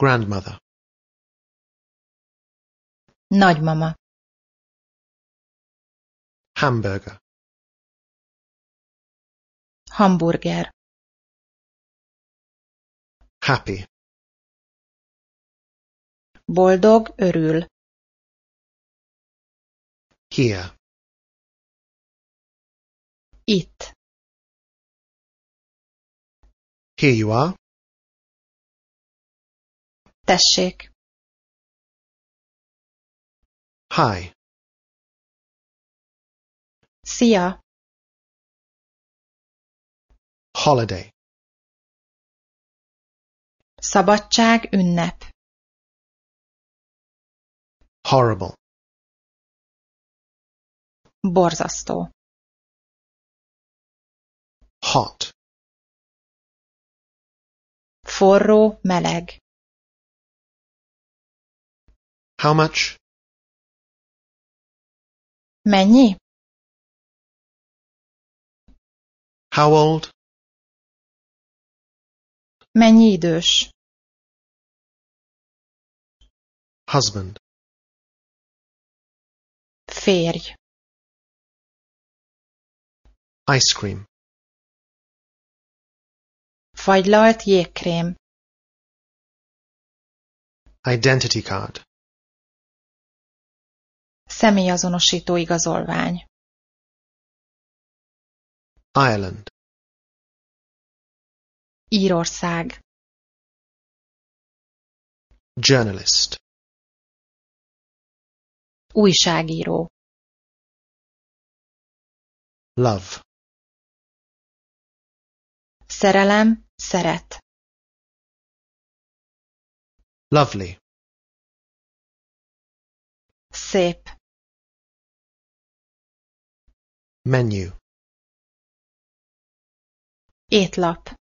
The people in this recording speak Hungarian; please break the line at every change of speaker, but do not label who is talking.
grandmother
Nagymama,
hamburger
hamburger,
happy
boldog, örül,
here
itt,
here you are
tessék,
hi
szia,
holiday
szabadság, ünnep,
horrible
borzasztó,
hot
forró, meleg,
how much
mennyi,
how old
mennyi idős,
husband
férj,
ice cream
fagylalt, jégkrém,
identity card
személyazonosító igazolvány,
Ireland
Írország,
journalist
újságíró,
love
szerelem, szeret,
lovely
szép,
menu
étlap,